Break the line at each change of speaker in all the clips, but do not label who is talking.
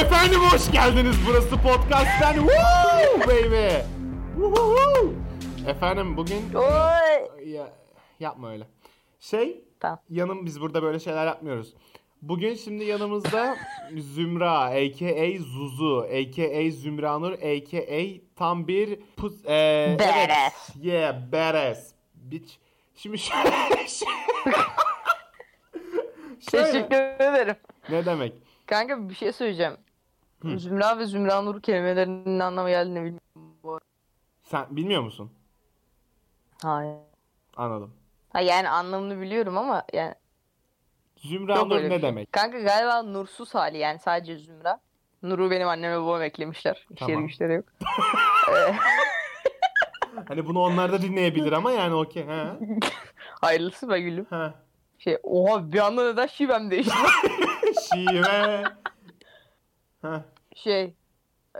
Efendim hoş geldiniz burası podcast'ten. Woo baby. Woohoo! Efendim bugün
Oy.
ya, yapma öyle. Şey
Tamam.
yanım biz burada böyle şeyler yapmıyoruz. Bugün şimdi yanımızda Zümra aka Zuzu aka Zümra Nur aka tam bir pus, e, evet.
Badass.
Yeah badass bitch. Şimdi ş- şöyle.
Teşekkür ederim.
Ne demek?
Kanka bir şey söyleyeceğim. Zümra ve Zümra Nur kelimelerinin ne anlamı geldiğini bilmiyorum. bu arada.
Sen bilmiyor musun?
Hayır.
Anladım.
Ha yani anlamını biliyorum ama yani
Zümra Nur
öyle bir
ne
şey.
demek?
Kanka galiba nursuz hali yani sadece Zümra. Nur'u benim anneme babam eklemişler. İşleri
Tamam.
güçleri yok.
Hani bunu onlar da dinleyebilir ama yani okey. Ha.
Hayırlısı be gülüm.
Ha.
Şey oha bir anda neden şivem değişti?
Şive. Ha.
şey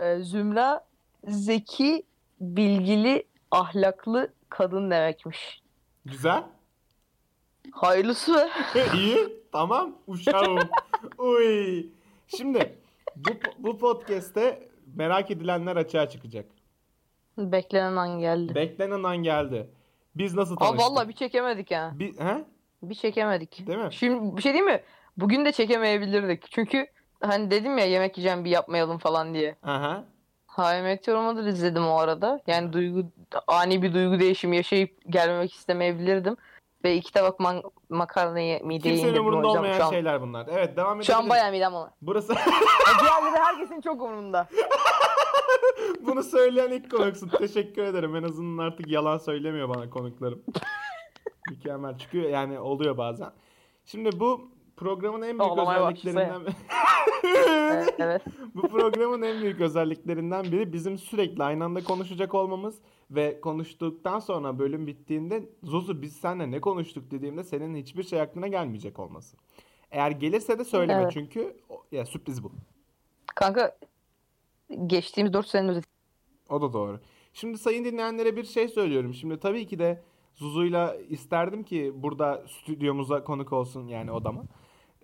e, Zümra zeki, bilgili, ahlaklı kadın demekmiş.
Güzel.
Hayırlısı be.
İyi. Tamam. Uşağım. Uy. Şimdi bu, bu podcast'te merak edilenler açığa çıkacak.
Beklenen an geldi.
Beklenen an geldi. Biz nasıl
Aa
tanıştık?
vallahi bir çekemedik ya.
Bir, ha?
Bir çekemedik.
Değil mi?
Şimdi bir şey değil mi? Bugün de çekemeyebilirdik. Çünkü hani dedim ya yemek yiyeceğim bir yapmayalım falan diye.
Aha.
Hayır Meteor Mother izledim o arada. Yani duygu ani bir duygu değişimi yaşayıp gelmemek istemeyebilirdim. Ve iki tabak man- makarnayı mideye
Kimsenin
indirdim
umurunda
o yüzden şu
olmayan
an.
şeyler E, bunlar. Evet devam
Şu an
edelim.
bayağı midem olan.
Burası
Diğerleri herkesin çok umurunda.
bunu söyleyen ilk konuksun. Teşekkür ederim. En azından artık yalan söylemiyor bana konuklarım. Mükemmel. Çünkü yani oluyor bazen. Şimdi bu programın en büyük
Ağlamaya
özelliklerinden
Evet, evet.
Bu programın en büyük özelliklerinden biri bizim sürekli aynı anda konuşacak olmamız ve konuştuktan sonra bölüm bittiğinde Zuzu biz seninle ne konuştuk dediğimde senin hiçbir şey aklına gelmeyecek olması. Eğer gelirse de söyleme
Evet.
çünkü o- ya sürpriz bu.
Kanka geçtiğimiz 4 senenin özeti.
O da doğru. Şimdi sayın dinleyenlere bir şey söylüyorum. Şimdi tabii ki de Zuzu'yla isterdim ki burada stüdyomuza konuk olsun yani odama.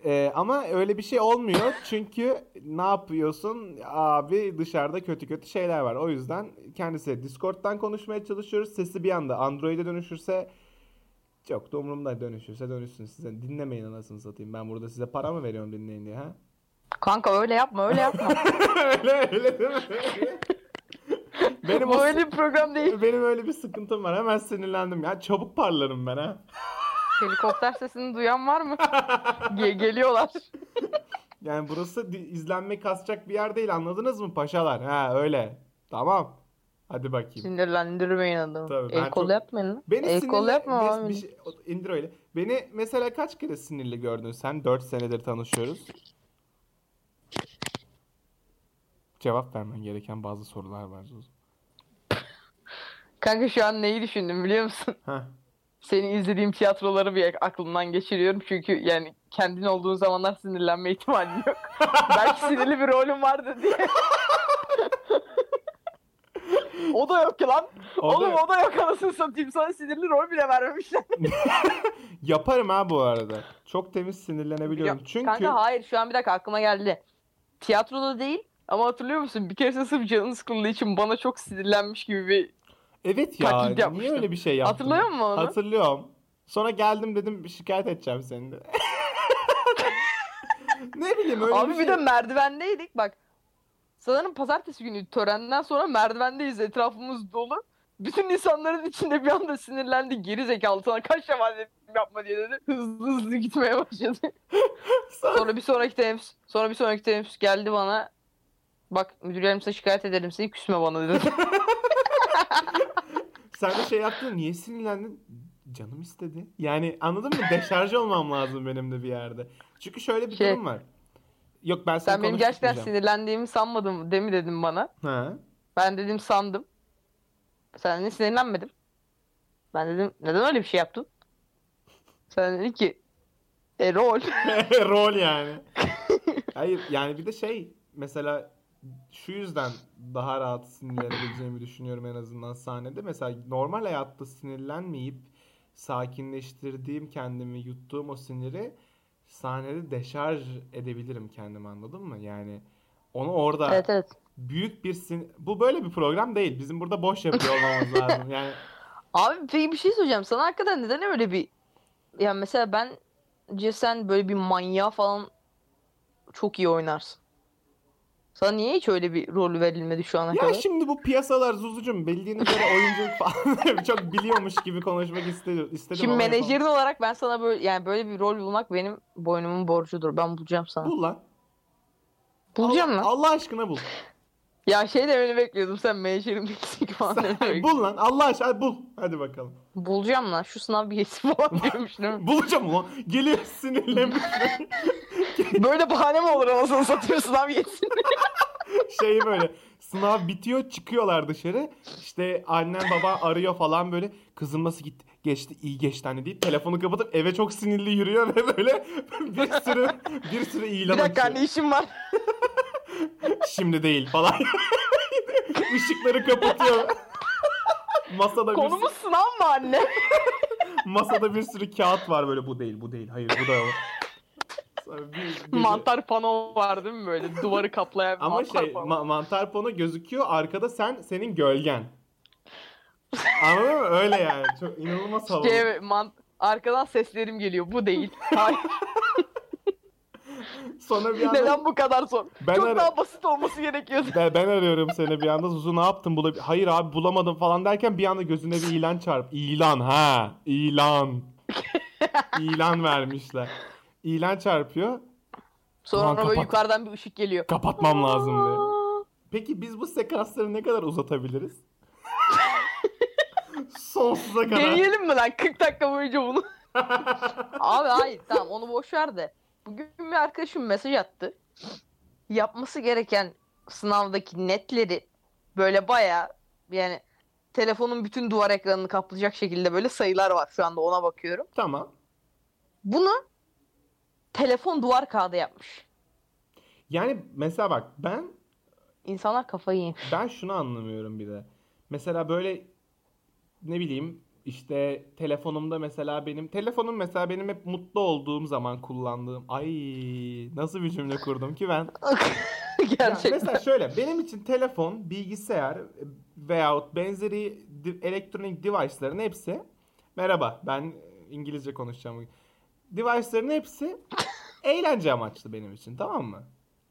Ee, ama öyle bir şey olmuyor çünkü ne yapıyorsun abi dışarıda kötü kötü şeyler var. O yüzden kendisi Discord'dan konuşmaya çalışıyoruz. Sesi bir anda Android'e dönüşürse çok da umurumda dönüşürse dönüşsün size. Dinlemeyin anasını satayım. Ben burada size para mı veriyorum dinleyin diye ha?
Kanka öyle yapma öyle yapma.
öyle öyle değil mi? Benim o
Bu öyle bir program değil.
benim öyle bir sıkıntım var. Hemen sinirlendim. Ya çabuk parlarım ben ha.
Helikopter sesini duyan var mı? Ge- geliyorlar.
Yani burası di- izlenme kasacak bir yer değil. Anladınız mı paşalar? Ha öyle. Tamam. Hadi bakayım.
Sinirlendirmeyin adamı.
Tabii, ben
El kol
çok-
yapmayın lan.
Beni
El e, kol
sinirle-
yapma
Mes-
abi.
bir şey- o- indir öyle. Beni mesela kaç kere sinirli gördün sen? 4 senedir tanışıyoruz. Cevap vermen gereken bazı sorular var Zuzu.
Kanka şu an neyi düşündüm biliyor musun?
Heh.
Senin izlediğim tiyatroları bir aklımdan geçiriyorum. Çünkü yani kendin olduğun zamanlar sinirlenme ihtimalin yok. Belki sinirli bir rolüm vardı diye. o da yok ki lan.
O da
Oğlum
yok.
o da yok anasını satayım. Sana sinirli rol bile vermemişler.
Yaparım ha bu arada. Çok temiz sinirlenebiliyorum.
Yok,
Çünkü
Kanka hayır şu an bir dakika aklıma geldi. Tiyatroda değil ama hatırlıyor musun? Bir keresinde sırf canın sıkıldığı için bana çok sinirlenmiş gibi bir...
Evet ya
Taklit
niye
yapmıştım.
öyle bir şey yaptın?
Hatırlıyor musun onu?
Hatırlıyorum. Sonra geldim dedim şikayet edeceğim seni de. ne bileyim öyle
Abi
bir,
bir,
şey.
de merdivendeydik bak. Sanırım pazartesi günü törenden sonra merdivendeyiz etrafımız dolu. Bütün insanların içinde bir anda sinirlendi. Geri zekalı sana kaç defa dedim yapma diye dedi. Hızlı hızlı gitmeye başladı.
Sonra-
Sonra bir sonraki teneffüs, sonra bir sonraki teneffüs geldi bana. Bak müdürlerim size şikayet ederim size küsme bana dedi.
Sen de şey yaptın niye sinirlendin? Canım istedi. Yani anladın mı? Deşarj olmam lazım benim de bir yerde. Çünkü şöyle bir
Şey-
durum var. Yok ben seni
Sen benim gerçekten
konuşmayacağım.
sinirlendiğimi sanmadın değil mi dedim bana.
Ha.
Ben dedim sandım. Sen dedin sinirlenmedim. Ben dedim neden öyle bir şey yaptın? Sen dedin ki e, rol.
Rol yani. Hayır yani bir de şey mesela şu yüzden daha rahat sinirlenebileceğimi düşünüyorum en azından sahnede. Mesela normal hayatta sinirlenmeyip sakinleştirdiğim kendimi yuttuğum o siniri sahnede deşarj edebilirim kendimi anladın mı? Yani Onu orada
Evet evet.
büyük bir sin... Bu böyle bir program değil. Bizim burada boş yapıyor olmamız lazım. Yani
Abi peki bir şey söyleyeceğim. Sana hakikaten neden öyle bir... Yani mesela ben sen böyle bir manyağı falan çok iyi oynarsın. Sana niye hiç öyle bir rol verilmedi şu ana
ya
kadar?
şimdi bu piyasalar Zuzucum bildiğine göre oyunculuk falan çok biliyormuş gibi konuşmak istedim. istedim
Şimdi
ama yapamadım.
menajerin olarak ben sana böyle yani böyle bir rol bulmak benim boynumun borcudur. Ben bulacağım sana.
Bul lan.
Bulacağım
Allah,
lan.
Allah aşkına bul.
Ya şey demeni bekliyordum sen menajerin bilsin falan
Sen-
demeni bekliyordum.
bul lan. Allah aşkına bul. Hadi bakalım.
Bulacağım lan şu sınav bilgisi falan diyormuş değil mi?
Bulacağım ulan. Geliyor sinirlenmiş.
Böyle bahane mi olur anasını satıyor sınav geçsin.
şey böyle sınav bitiyor çıkıyorlar dışarı. İşte annen baba arıyor falan böyle. Kızım nasıl gitti? Geçti iyi geçti anne deyip telefonu kapatıp eve çok sinirli yürüyor ve böyle bir sürü bir sürü ilan
bir dakika
açıyor.
anne işim var.
Şimdi değil falan. Işıkları kapatıyor. masada bir,
Konumuz sınav mı anne?
masada bir sürü kağıt var böyle bu değil bu değil hayır bu da yok. Sonra bir- bir-
mantar pano var değil mi böyle duvarı kaplayan
Ama
mantar
şey
pano.
ma- mantar pano gözüküyor arkada sen senin gölgen. Anladın mı? Öyle yani. Çok inanılmaz havalı.
Şey, man- arkadan seslerim geliyor bu değil. Hayır.
Sonra bir anda
Neden bu kadar zor?
Ben
Çok
ara-
daha basit olması gerekiyordu.
ben, ben arıyorum seni bir anda. Zuzu ne yaptın? Bula- Hayır abi bulamadım falan derken bir anda gözüne bir ilan çarp. İlan ha. İlan. İlan vermişler. İlan çarpıyor.
Sonra
Ulan
böyle
kapat.
yukarıdan bir ışık geliyor.
Kapatmam lazım diye.
Aa,
Peki biz bu sekansları ne kadar uzatabiliriz? Sonsuza kadar.
Deneyelim mi lan 40 dakika boyunca bunu? Abi hayır tamam onu boş ver de. Bugün bir arkadaşım mesaj attı. Yapması gereken sınavdaki netleri böyle baya yani telefonun bütün duvar ekranını kaplayacak şekilde böyle sayılar var şu anda ona bakıyorum.
Tamam.
Bunu telefon duvar kağıdı yapmış.
Yani mesela bak ben
İnsanlar kafayı yemiş.
Ben şunu anlamıyorum bir de. Mesela böyle ne bileyim işte telefonumda mesela benim telefonum mesela benim hep mutlu olduğum zaman kullandığım ay nasıl bir cümle kurdum ki ben Ya
Gerçekten.
mesela şöyle benim için telefon bilgisayar e, veyahut benzeri di- elektronik device'ların hepsi merhaba ben İngilizce konuşacağım bugün. device'ların hepsi eğlence amaçlı benim için tamam mı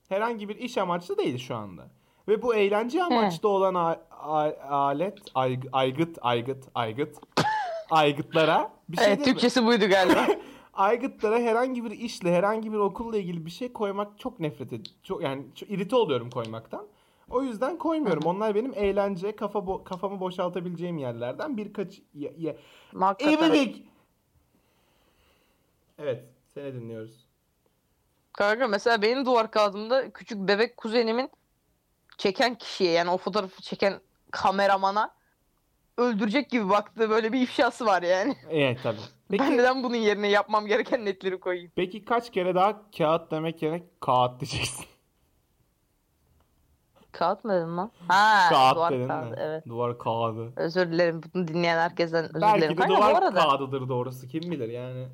herhangi bir iş amaçlı değil şu anda ve bu eğlence amaçlı olan a- a- alet ayg- aygıt aygıt aygıt aygıtlara bir şey
evet
değil mi?
Türkçesi buydu galiba.
aygıtlara herhangi bir işle, herhangi bir okulla ilgili bir şey koymak çok nefret ediyorum. Çok yani çok irite oluyorum koymaktan. O yüzden koymuyorum. Onlar benim eğlence, kafa bo- kafamı boşaltabileceğim yerlerden birkaç ya, ya.
Hakikaten.
Evlilik. Evet, seni dinliyoruz.
Kanka mesela benim duvar kağıdımda küçük bebek kuzenimin çeken kişiye yani o fotoğrafı çeken kameramana öldürecek gibi baktığı böyle bir ifşası var yani.
Evet tabii.
Ben
Peki,
neden bunun yerine yapmam gereken netleri koyayım?
peki kaç kere daha kağıt demek yerine kağıt diyeceksin.
Kağıt mı dedim lan? Ha,
kağıt
duvar
dedin
kağıdı
mi?
evet.
Duvar kağıdı.
Özür dilerim bunu dinleyen herkesten özür
Belki
dilerim.
de
Kanka,
duvar
bu arada
kağıdıdır doğrusu kim bilir yani.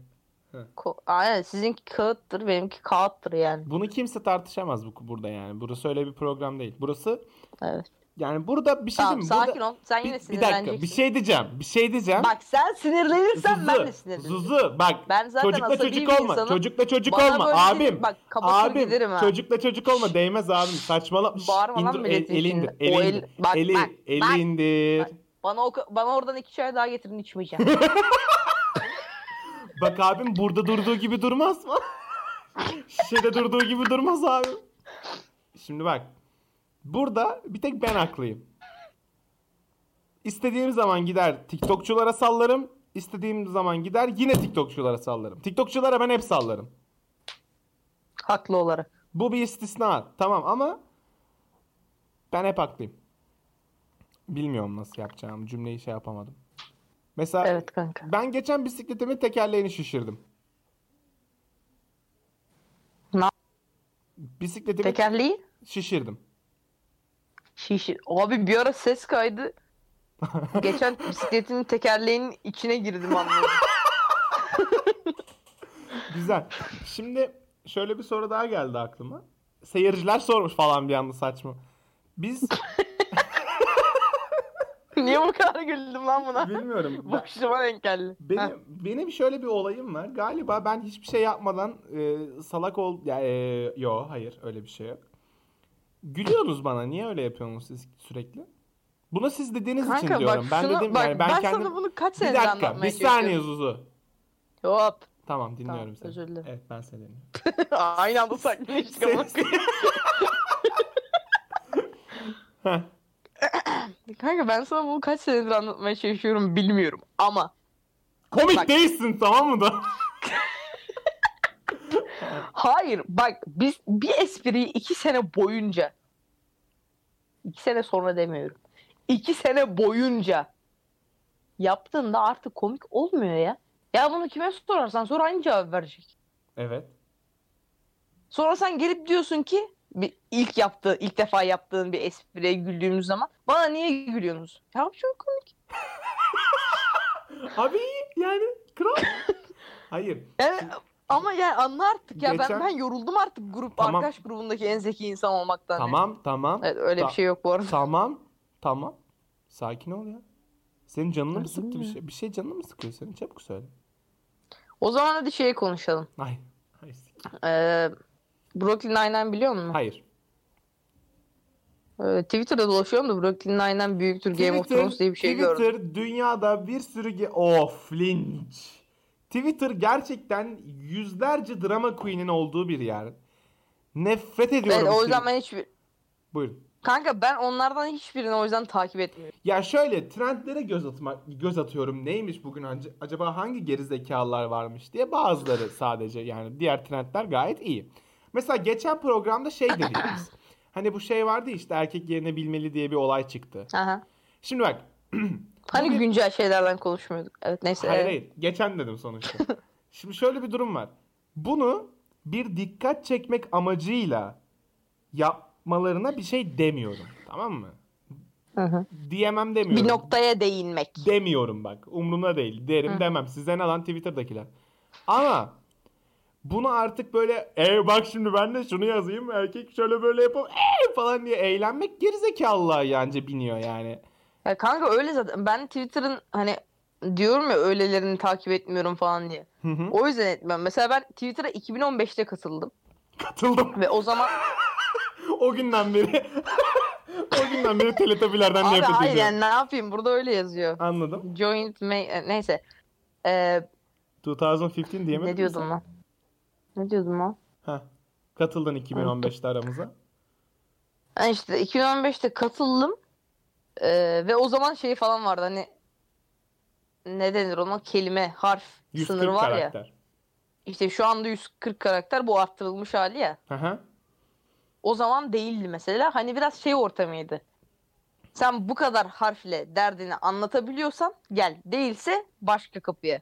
Ko- aynen sizinki kağıttır benimki kağıttır yani.
Bunu kimse tartışamaz bu burada yani. Burası öyle bir program değil. Burası
Evet.
yani burada bir şey
Tamam
diyeyim mi? Burada-
sakin ol sen
bir,
yine
bir dakika
sinirleneceksin.
bir şey diyeceğim. Bir şey diyeceğim.
Bak sen sinirlenirsen ben de
Zuzu,
sinirlenirim.
Zuzu bak.
Ben zaten
çocukla
asabi bir
çocuk olma.
insanım.
Çocukla çocuk
Bana
olma
böyle
abim.
dedi- Bak kapatır
abim.
giderim ha.
Çocukla çocuk olma değmez abim. Saçmalama. Şşş,
Bağırma lan
indir-
milletin
el, eli indir.
içinde.
Eli
O el-
indir.
bak,
eli,
bak,
eli
bak.
indir.
Bak. Bana o, bana oradan iki çay daha getirin içmeyeceğim.
Bak abim burada durduğu gibi durmaz mı? Şişede durduğu gibi durmaz abi. Şimdi bak. Burada bir tek ben haklıyım. İstediğim zaman gider TikTokçulara sallarım. İstediğim zaman gider yine TikTokçulara sallarım. TikTokçulara ben hep sallarım.
Haklı olarak.
Bu bir istisna. Tamam ama ben hep haklıyım. Bilmiyorum nasıl yapacağım. Cümleyi şey yapamadım. Mesela
Evet kanka.
ben geçen bisikletimin tekerleğini şişirdim.
Na-
Bisikletimi
Tekerleği
şişirdim.
şişir. Abi bir ara ses kaydı. Geçen bisikletinin tekerleğinin içine girdim anladım.
Güzel. Şimdi şöyle bir soru daha geldi aklıma. seyirciler sormuş falan bir anda saçma. Biz
Niye bu kadar güldüm lan buna?
bilmiyorum. Ben-
Bakışıma denk geldi. Heh.
Benim, benim şöyle bir olayım var. Galiba ben hiçbir şey yapmadan e, salak ol... Ya, e, yo hayır öyle bir şey yok. Gülüyorsunuz bana. Niye öyle yapıyorsunuz siz sürekli? Bunu siz dediğiniz için
Kanka
diyorum.
bak
ben
şunu,
dedim
bak,
yani
ben,
ben, kendim...
sana bunu kaç
Bir
senedir
dakika.
anlatmaya
Bir saniye Zuzu.
çalışıyorum? Hop.
Tamam dinliyorum
Tamam,
seni.
özür dilerim.
Evet ben seni dinliyorum.
Aynı anda sakinleştik ama.
Heh,
Kanka ben sana bunu kaç senedir anlatmaya çalışıyorum bilmiyorum ama
Komik
Bak.
değilsin tamam mı da?
hayır bak biz bir espriyi iki sene boyunca iki sene sonra demiyorum iki sene boyunca yaptığında artık komik olmuyor ya. Ya bunu kime sorarsan sonra aynı cevap verecek.
evet.
Sonra sen gelip diyorsun ki bir ilk yaptığı ilk defa yaptığın bir espriye güldüğümüz zaman bana niye gülüyorsunuz? Ya çok komik.
Abi iyi, yani kral. Hayır.
Yani, ama yani anla artık ya
Geçen-
ben ben yoruldum artık grup
Tamam.
arkadaş grubundaki en zeki insan olmaktan. yani.
Tamam tamam.
Evet öyle
Ta-
bir şey yok bu arada.
Tamam. Tamam. Sakin ol ya. Senin canını mı
Sakin
sıktı bir
mi?
şey? Bir şey canını mı sıkıyor senin? Çabuk söyle.
O zaman hadi şeye konuşalım.
Hayır. Hayır.
Ee, Brooklyn Nine-Nine biliyor musun?
Hayır.
Ee, Twitter'da dolaşıyorum da Brooklyn Nine-Nine büyüktür Game of Thrones diye bir şey
Twitter
gördüm.
dünyada bir sürü... Ge- of linç. Twitter gerçekten yüzlerce drama queen'in olduğu bir yer. Nefret ediyorum.
Evet, o
Twitter-
yüzden ben hiçbir...
Buyurun.
Kanka ben onlardan hiçbirini o yüzden takip etmiyorum.
Ya şöyle trendlere göz atmak göz atıyorum. Neymiş bugün anca- acaba hangi gerizekalılar varmış diye bazıları sadece yani diğer trendler gayet iyi. Mesela geçen programda şey dedik biz. Hani bu şey vardı ya işte erkek yerine bilmeli diye bir olay çıktı.
Aha.
Şimdi bak
Hani
Bugün-
güncel şeylerden konuşmuyorduk. Evet neyse.
hayır
evet.
hayır geçen dedim sonuçta. Şimdi şöyle bir durum var. Bunu bir dikkat çekmek amacıyla yapmalarına bir şey demiyorum. Tamam mı?
Hı hı.
Diyemem demiyorum.
Bir noktaya değinmek.
Demiyorum bak. Umrumda değil. Derim
Hı.
demem. Size ne lan Twitter'dakiler. Ama bunu artık böyle e bak şimdi ben de şunu yazayım erkek şöyle böyle yapalım e falan diye eğlenmek gerizekalılığa yence biniyor yani.
Ya kanka öyle zaten. Ben Twitter'ın hani diyorum ya öylelerini takip etmiyorum falan diye.
Hı hı.
O yüzden etmem. Mesela ben Twitter'a 2015'te katıldım.
Katıldım
Ve o zaman
o günden beri. o günden beri teletabilerden
Abi
nefret
hayır
ediyorum.
yani ne yapayım burada öyle yazıyor.
Anladım.
Joint may e, neyse. Ee,
2015 diyemedin
ne diyordum lan? Ne diyordum lan?
Ha. Katıldın 2015'te aramıza.
Ha işte 2015'te katıldım. Ee, ve o zaman şey falan vardı hani ne denir ona kelime, harf
140
sınırı var ya.
karakter.
İşte şu anda 140 karakter bu arttırılmış hali ya.
Hı hı.
O zaman değildi mesela. Hani biraz şey ortamıydı. Sen bu kadar harfle derdini anlatabiliyorsan gel. Değilse başka kapıya.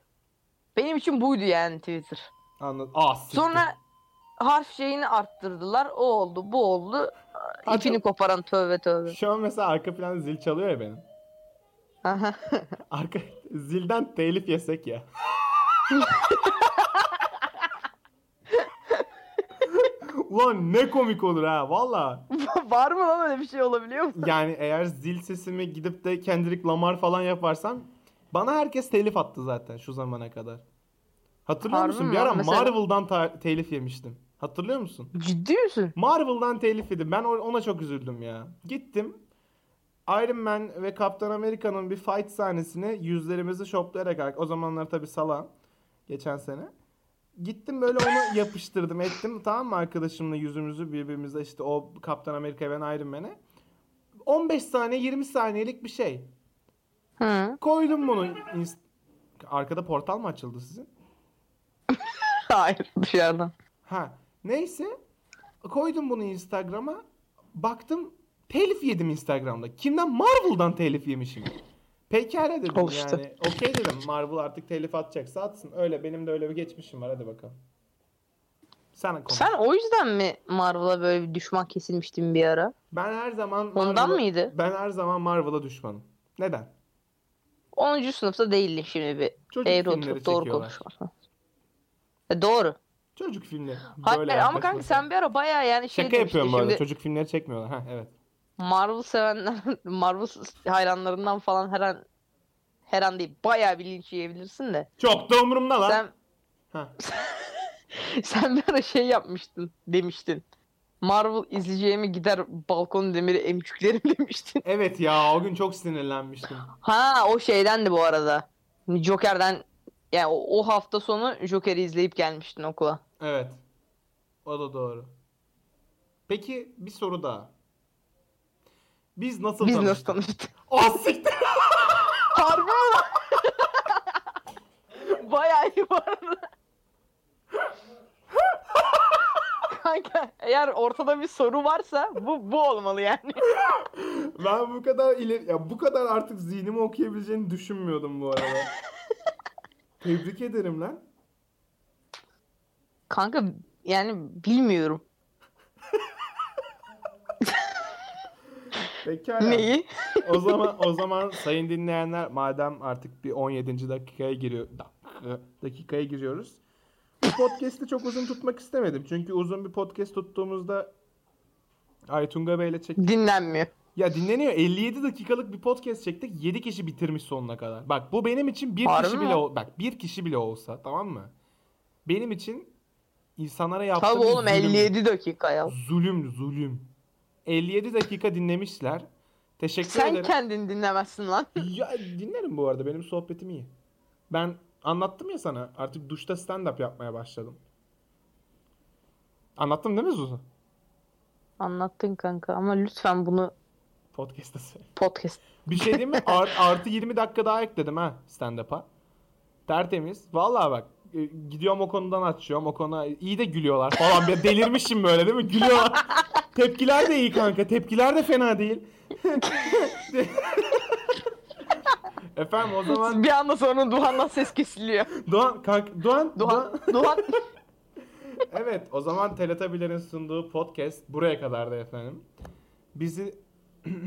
Benim için buydu yani Twitter.
Anladım. Aa, siktir.
Sonra harf şeyini arttırdılar. O oldu, bu oldu.
Hadi.
İpini koparan tövbe tövbe.
Şu an mesela arka plan zil çalıyor ya benim.
Aha.
Arka zilden telif yesek ya. Ulan ne komik olur ha valla.
Var mı lan öyle bir şey olabiliyor mu?
Yani eğer zil sesimi gidip de Kendrick Lamar falan yaparsam bana herkes telif attı zaten şu zamana kadar. Hatırlıyor
Harbi
musun?
mi
Bir
lan?
ara
Mesela-
Marvel'dan ta- telif yemiştim. Hatırlıyor musun?
Ciddi misin?
Marvel'dan telif yedim. Ben o- ona çok üzüldüm ya. Gittim. Iron Man ve Kaptan Amerika'nın bir fight sahnesini yüzlerimizi şoplayarak o zamanlar tabii salam geçen sene. Gittim böyle onu yapıştırdım ettim tamam mı arkadaşımla yüzümüzü birbirimize işte o Kaptan Amerika ben Iron Man'e. 15 saniye 20 saniyelik bir şey.
Hı.
Koydum bunu. inst- Arkada portal mı açıldı sizin?
Hayır dışarıdan.
Ha neyse koydum bunu Instagram'a baktım telif yedim Instagram'da. Kimden? Marvel'dan telif yemişim. Pekala dedim
Oluştu.
yani. Okey dedim Marvel artık telif atacaksa atsın. Öyle benim de öyle bir geçmişim var hadi bakalım. Sen konuş.
Sen o yüzden mi Marvel'a böyle bir düşman kesilmiştin bir ara?
Ben her zaman
Ondan
Marvel'a-
mıydı?
Ben her zaman Marvel'a düşmanım. Neden?
10. sınıfta değildin şimdi bir.
Çocuk
Eğri
filmleri
oturup doğru
çekiyorlar.
konuşmak. E, doğru.
Çocuk filmleri.
Hayır ama kanka
yaklaşmak.
sen bir ara baya yani şey
Şaka yapıyorum bu
demiştin
arada.
şimdi
Çocuk filmleri çekmiyorlar. Ha evet.
Marvel sevenler, Marvel hayranlarından falan her an her an değil baya bir linç yiyebilirsin de.
Çok da umurumda lan.
Sen
Ha.
sen bir ara şey yapmıştın demiştin. Marvel izleyeceğimi gider balkon demiri emçüklerim demiştin.
Evet ya o gün çok sinirlenmiştim.
Ha o şeyden de bu arada. Joker'den yani o, o hafta sonu Joker'i izleyip gelmiştin okula.
Evet. O da doğru. Peki bir soru daha. Biz nasıl
Biz nasıl
tanıştık?
tanıştık?
Ah, siktir.
Harbi mi lan? Bayağı iyi bu arada. Kanka eğer ortada bir soru varsa bu bu olmalı yani.
Ben bu kadar ileri, ya bu kadar artık zihnimi okuyabileceğini düşünmüyordum bu arada. Tebrik ederim lan.
Kanka yani bilmiyorum.
Pekala.
Neyi?
O zaman o zaman sayın dinleyenler madem artık bir 17. dakikaya giriyor dakika- dakikaya giriyoruz. Bu podcast'i çok uzun tutmak istemedim. Çünkü uzun bir podcast tuttuğumuzda Aytunga Bey'le çek
Dinlenmiyor.
Ya dinleniyor. 57 dakikalık bir podcast çektik. 7 kişi bitirmiş sonuna kadar. Bak bu benim için bir
Harbi
kişi
mi?
bile ol- bak bir kişi bile olsa tamam mı? Benim için insanlara yaptığım
Tabii
bir
oğlum
zulüm.
57 dakika ya.
Zulüm zulüm. 57 dakika dinlemişler. Teşekkür
Sen
ederim.
kendin dinlemezsin lan.
Ya dinlerim bu arada. Benim sohbetim iyi. Ben anlattım ya sana. Artık duşta stand-up yapmaya başladım. Anlattım değil mi Zuzu?
Anlattın kanka ama lütfen bunu
Podcast'ta söyle.
podcast.
Bir şey diyeyim mi? Art- artı 20 dakika daha ekledim ha stand-up'a. Tertemiz. Vallahi bak e, gidiyorum o konudan açıyorum. O konu iyi de gülüyorlar falan. Bir delirmişim böyle değil mi? Gülüyorlar. Tepkiler de iyi kanka. Tepkiler de fena değil. Efendim o zaman
Bir anda sonra Duhan'dan ses kesiliyor.
Doğan kank Doğan, Doğan
Duhan, Duhan
Evet, o zaman Teletabilerin sunduğu podcast buraya kadardı efendim. Bizi Ölse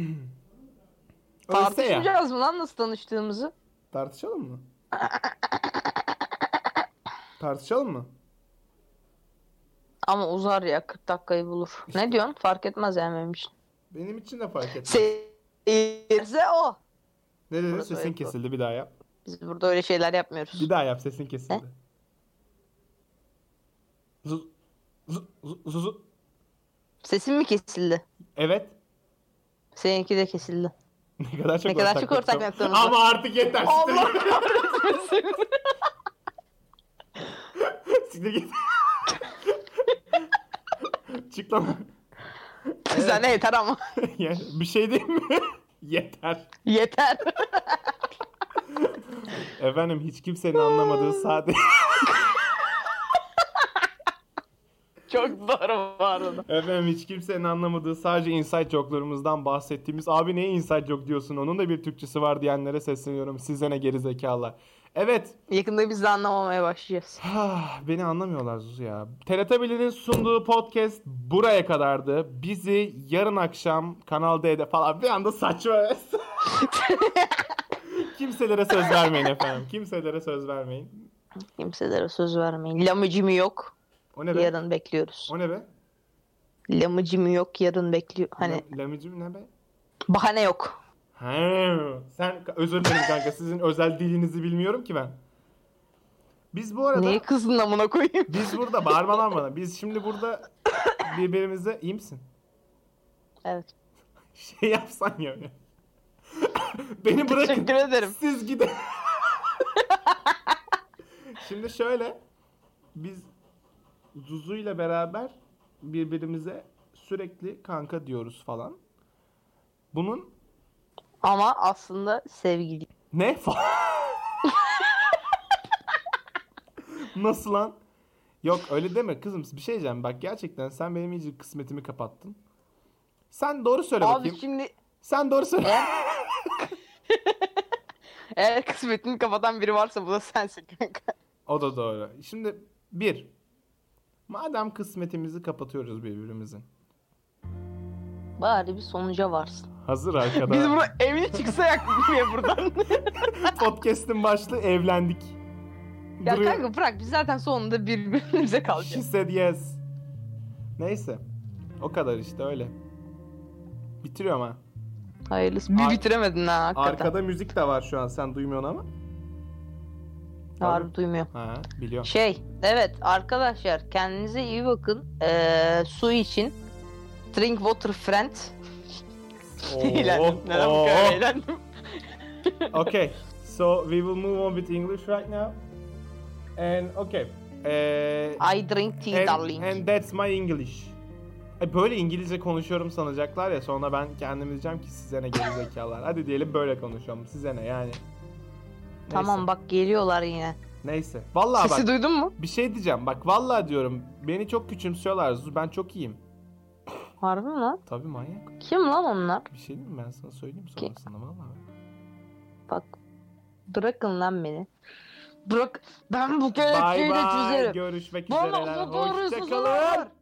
ya.
tartışmayacağız mı lan nasıl tanıştığımızı?
Tartışalım mı? Tartışalım mı?
Ama uzar ya 40 dakikayı bulur. Ne diyorsun? Fark etmez yani benim için.
Benim için de fark etmez.
Seyirce o.
ne dedin?
Şey- Burası
Sesin
ayıp.
kesildi. Bir daha yap.
Biz burada öyle şeyler yapmıyoruz.
Bir daha yap. Sesin kesildi. Zu zu zu zu- zu-
Sesin mi kesildi?
Evet.
Seninki de kesildi.
Ne kadar çok
Ne kadar çok
ortak
ortak
noktam-
noktamız var.
Ama artık yeter.
Allah kahretmesin.
Siktir git. Çık lan.
Sana yeter ama.
Yani bir şey değil mi? Yeter.
Yeter.
Efendim hiç kimsenin anlamadığı sadece...
Çok doğru bu arada.
Efendim hiç kimsenin anlamadığı sadece inside joke'larımızdan bahsettiğimiz... Abi neye inside joke diyorsun? Onun da bir Türkçesi var diyenlere sesleniyorum. Size ne gerizekalılar. Evet.
Yakında biz de anlamamaya başlayacağız.
Ah, Beni anlamıyorlar Zuzu ya. TRT1'in sunduğu podcast buraya kadardı. Bizi yarın akşam Kanal D'de falan bir anda saçma. Kimselere söz vermeyin efendim. Kimselere söz vermeyin.
Kimselere söz vermeyin. Lamıcımı yok.
O ne be?
Yarın bekliyoruz.
O ne be?
Lamıcımı yok. Yarın bekliyor. Hani
La- Lamicim ne be?
bahane yok.
He, sen özür dilerim kanka sizin özel dilinizi bilmiyorum ki ben. Biz bu arada
Neyi kızdın amına koyayım?
biz burada bağırmalar bana. Biz şimdi burada birbirimize iyi misin?
Evet.
Şey yapsan ya. Beni bırakın.
Teşekkür ederim.
Siz gidin. şimdi şöyle biz Zuzu ile beraber birbirimize sürekli kanka diyoruz falan. Bunun
Ama aslında sevgili.
Ne? Fa- Nasıl lan? Yok öyle deme kızım. Bir şey diyeceğim. Bak gerçekten sen benim iyice kısmetimi kapattın. Sen doğru söyle
Abi
bakayım.
şimdi
Sen doğru söyle.
Eğer kısmetini kapatan biri varsa bu da sensin kanka.
o da doğru. Şimdi bir. Madem kısmetimizi kapatıyoruz birbirimizin.
Bari bir sonuca varsın.
Hazır arkada.
Biz burada evini çıksa yakmıyor buradan.
Podcast'in başlığı evlendik.
Ya
Duruyor.
kanka bırak biz zaten sonunda birbirimize
She
kalacağız.
said yes. Neyse. O kadar işte öyle. Bitiriyorum ha.
Hayırlısı. Bir
Ar-
bitiremedin ha hakikaten.
Arkada müzik de var şu an. Sen duymuyorsun ama.
Harbi duymuyor.
Ha, biliyorum.
Şey, evet arkadaşlar kendinize iyi bakın. Ee, su için. Drink water friend. eğlendim. Neden bu kadar eğlendim?
okay. So we will move on with English right now. And okay. Ee,
I drink tea
and,
darling.
and that's my English. E, Böyle İngilizce konuşuyorum sanacaklar ya sonra ben kendim diyeceğim ki size ne gerizekalar. Hadi diyelim böyle konuşuyorum size ne yani.
Tamam bak geliyorlar yine.
Neyse. Vallahi bak.
Sesi duydun mu?
Bir şey diyeceğim. Bak vallahi diyorum. Beni çok küçümsüyorlar. Zuzu. Ben çok iyiyim.
Harbi mi lan?
Tabii manyak.
Kim lan onlar?
Bir şey diyeyim mi? Ben sana söyleyeyim
Ki-
sonrasında vallahi.
Bak bırakın lan beni. Bırak ben bu
Bay
kelepçeyi de
bay.
çözerim.
Görüşmek
Bana
üzere.
bu doğruyu
Hoşçakalın.
susalar.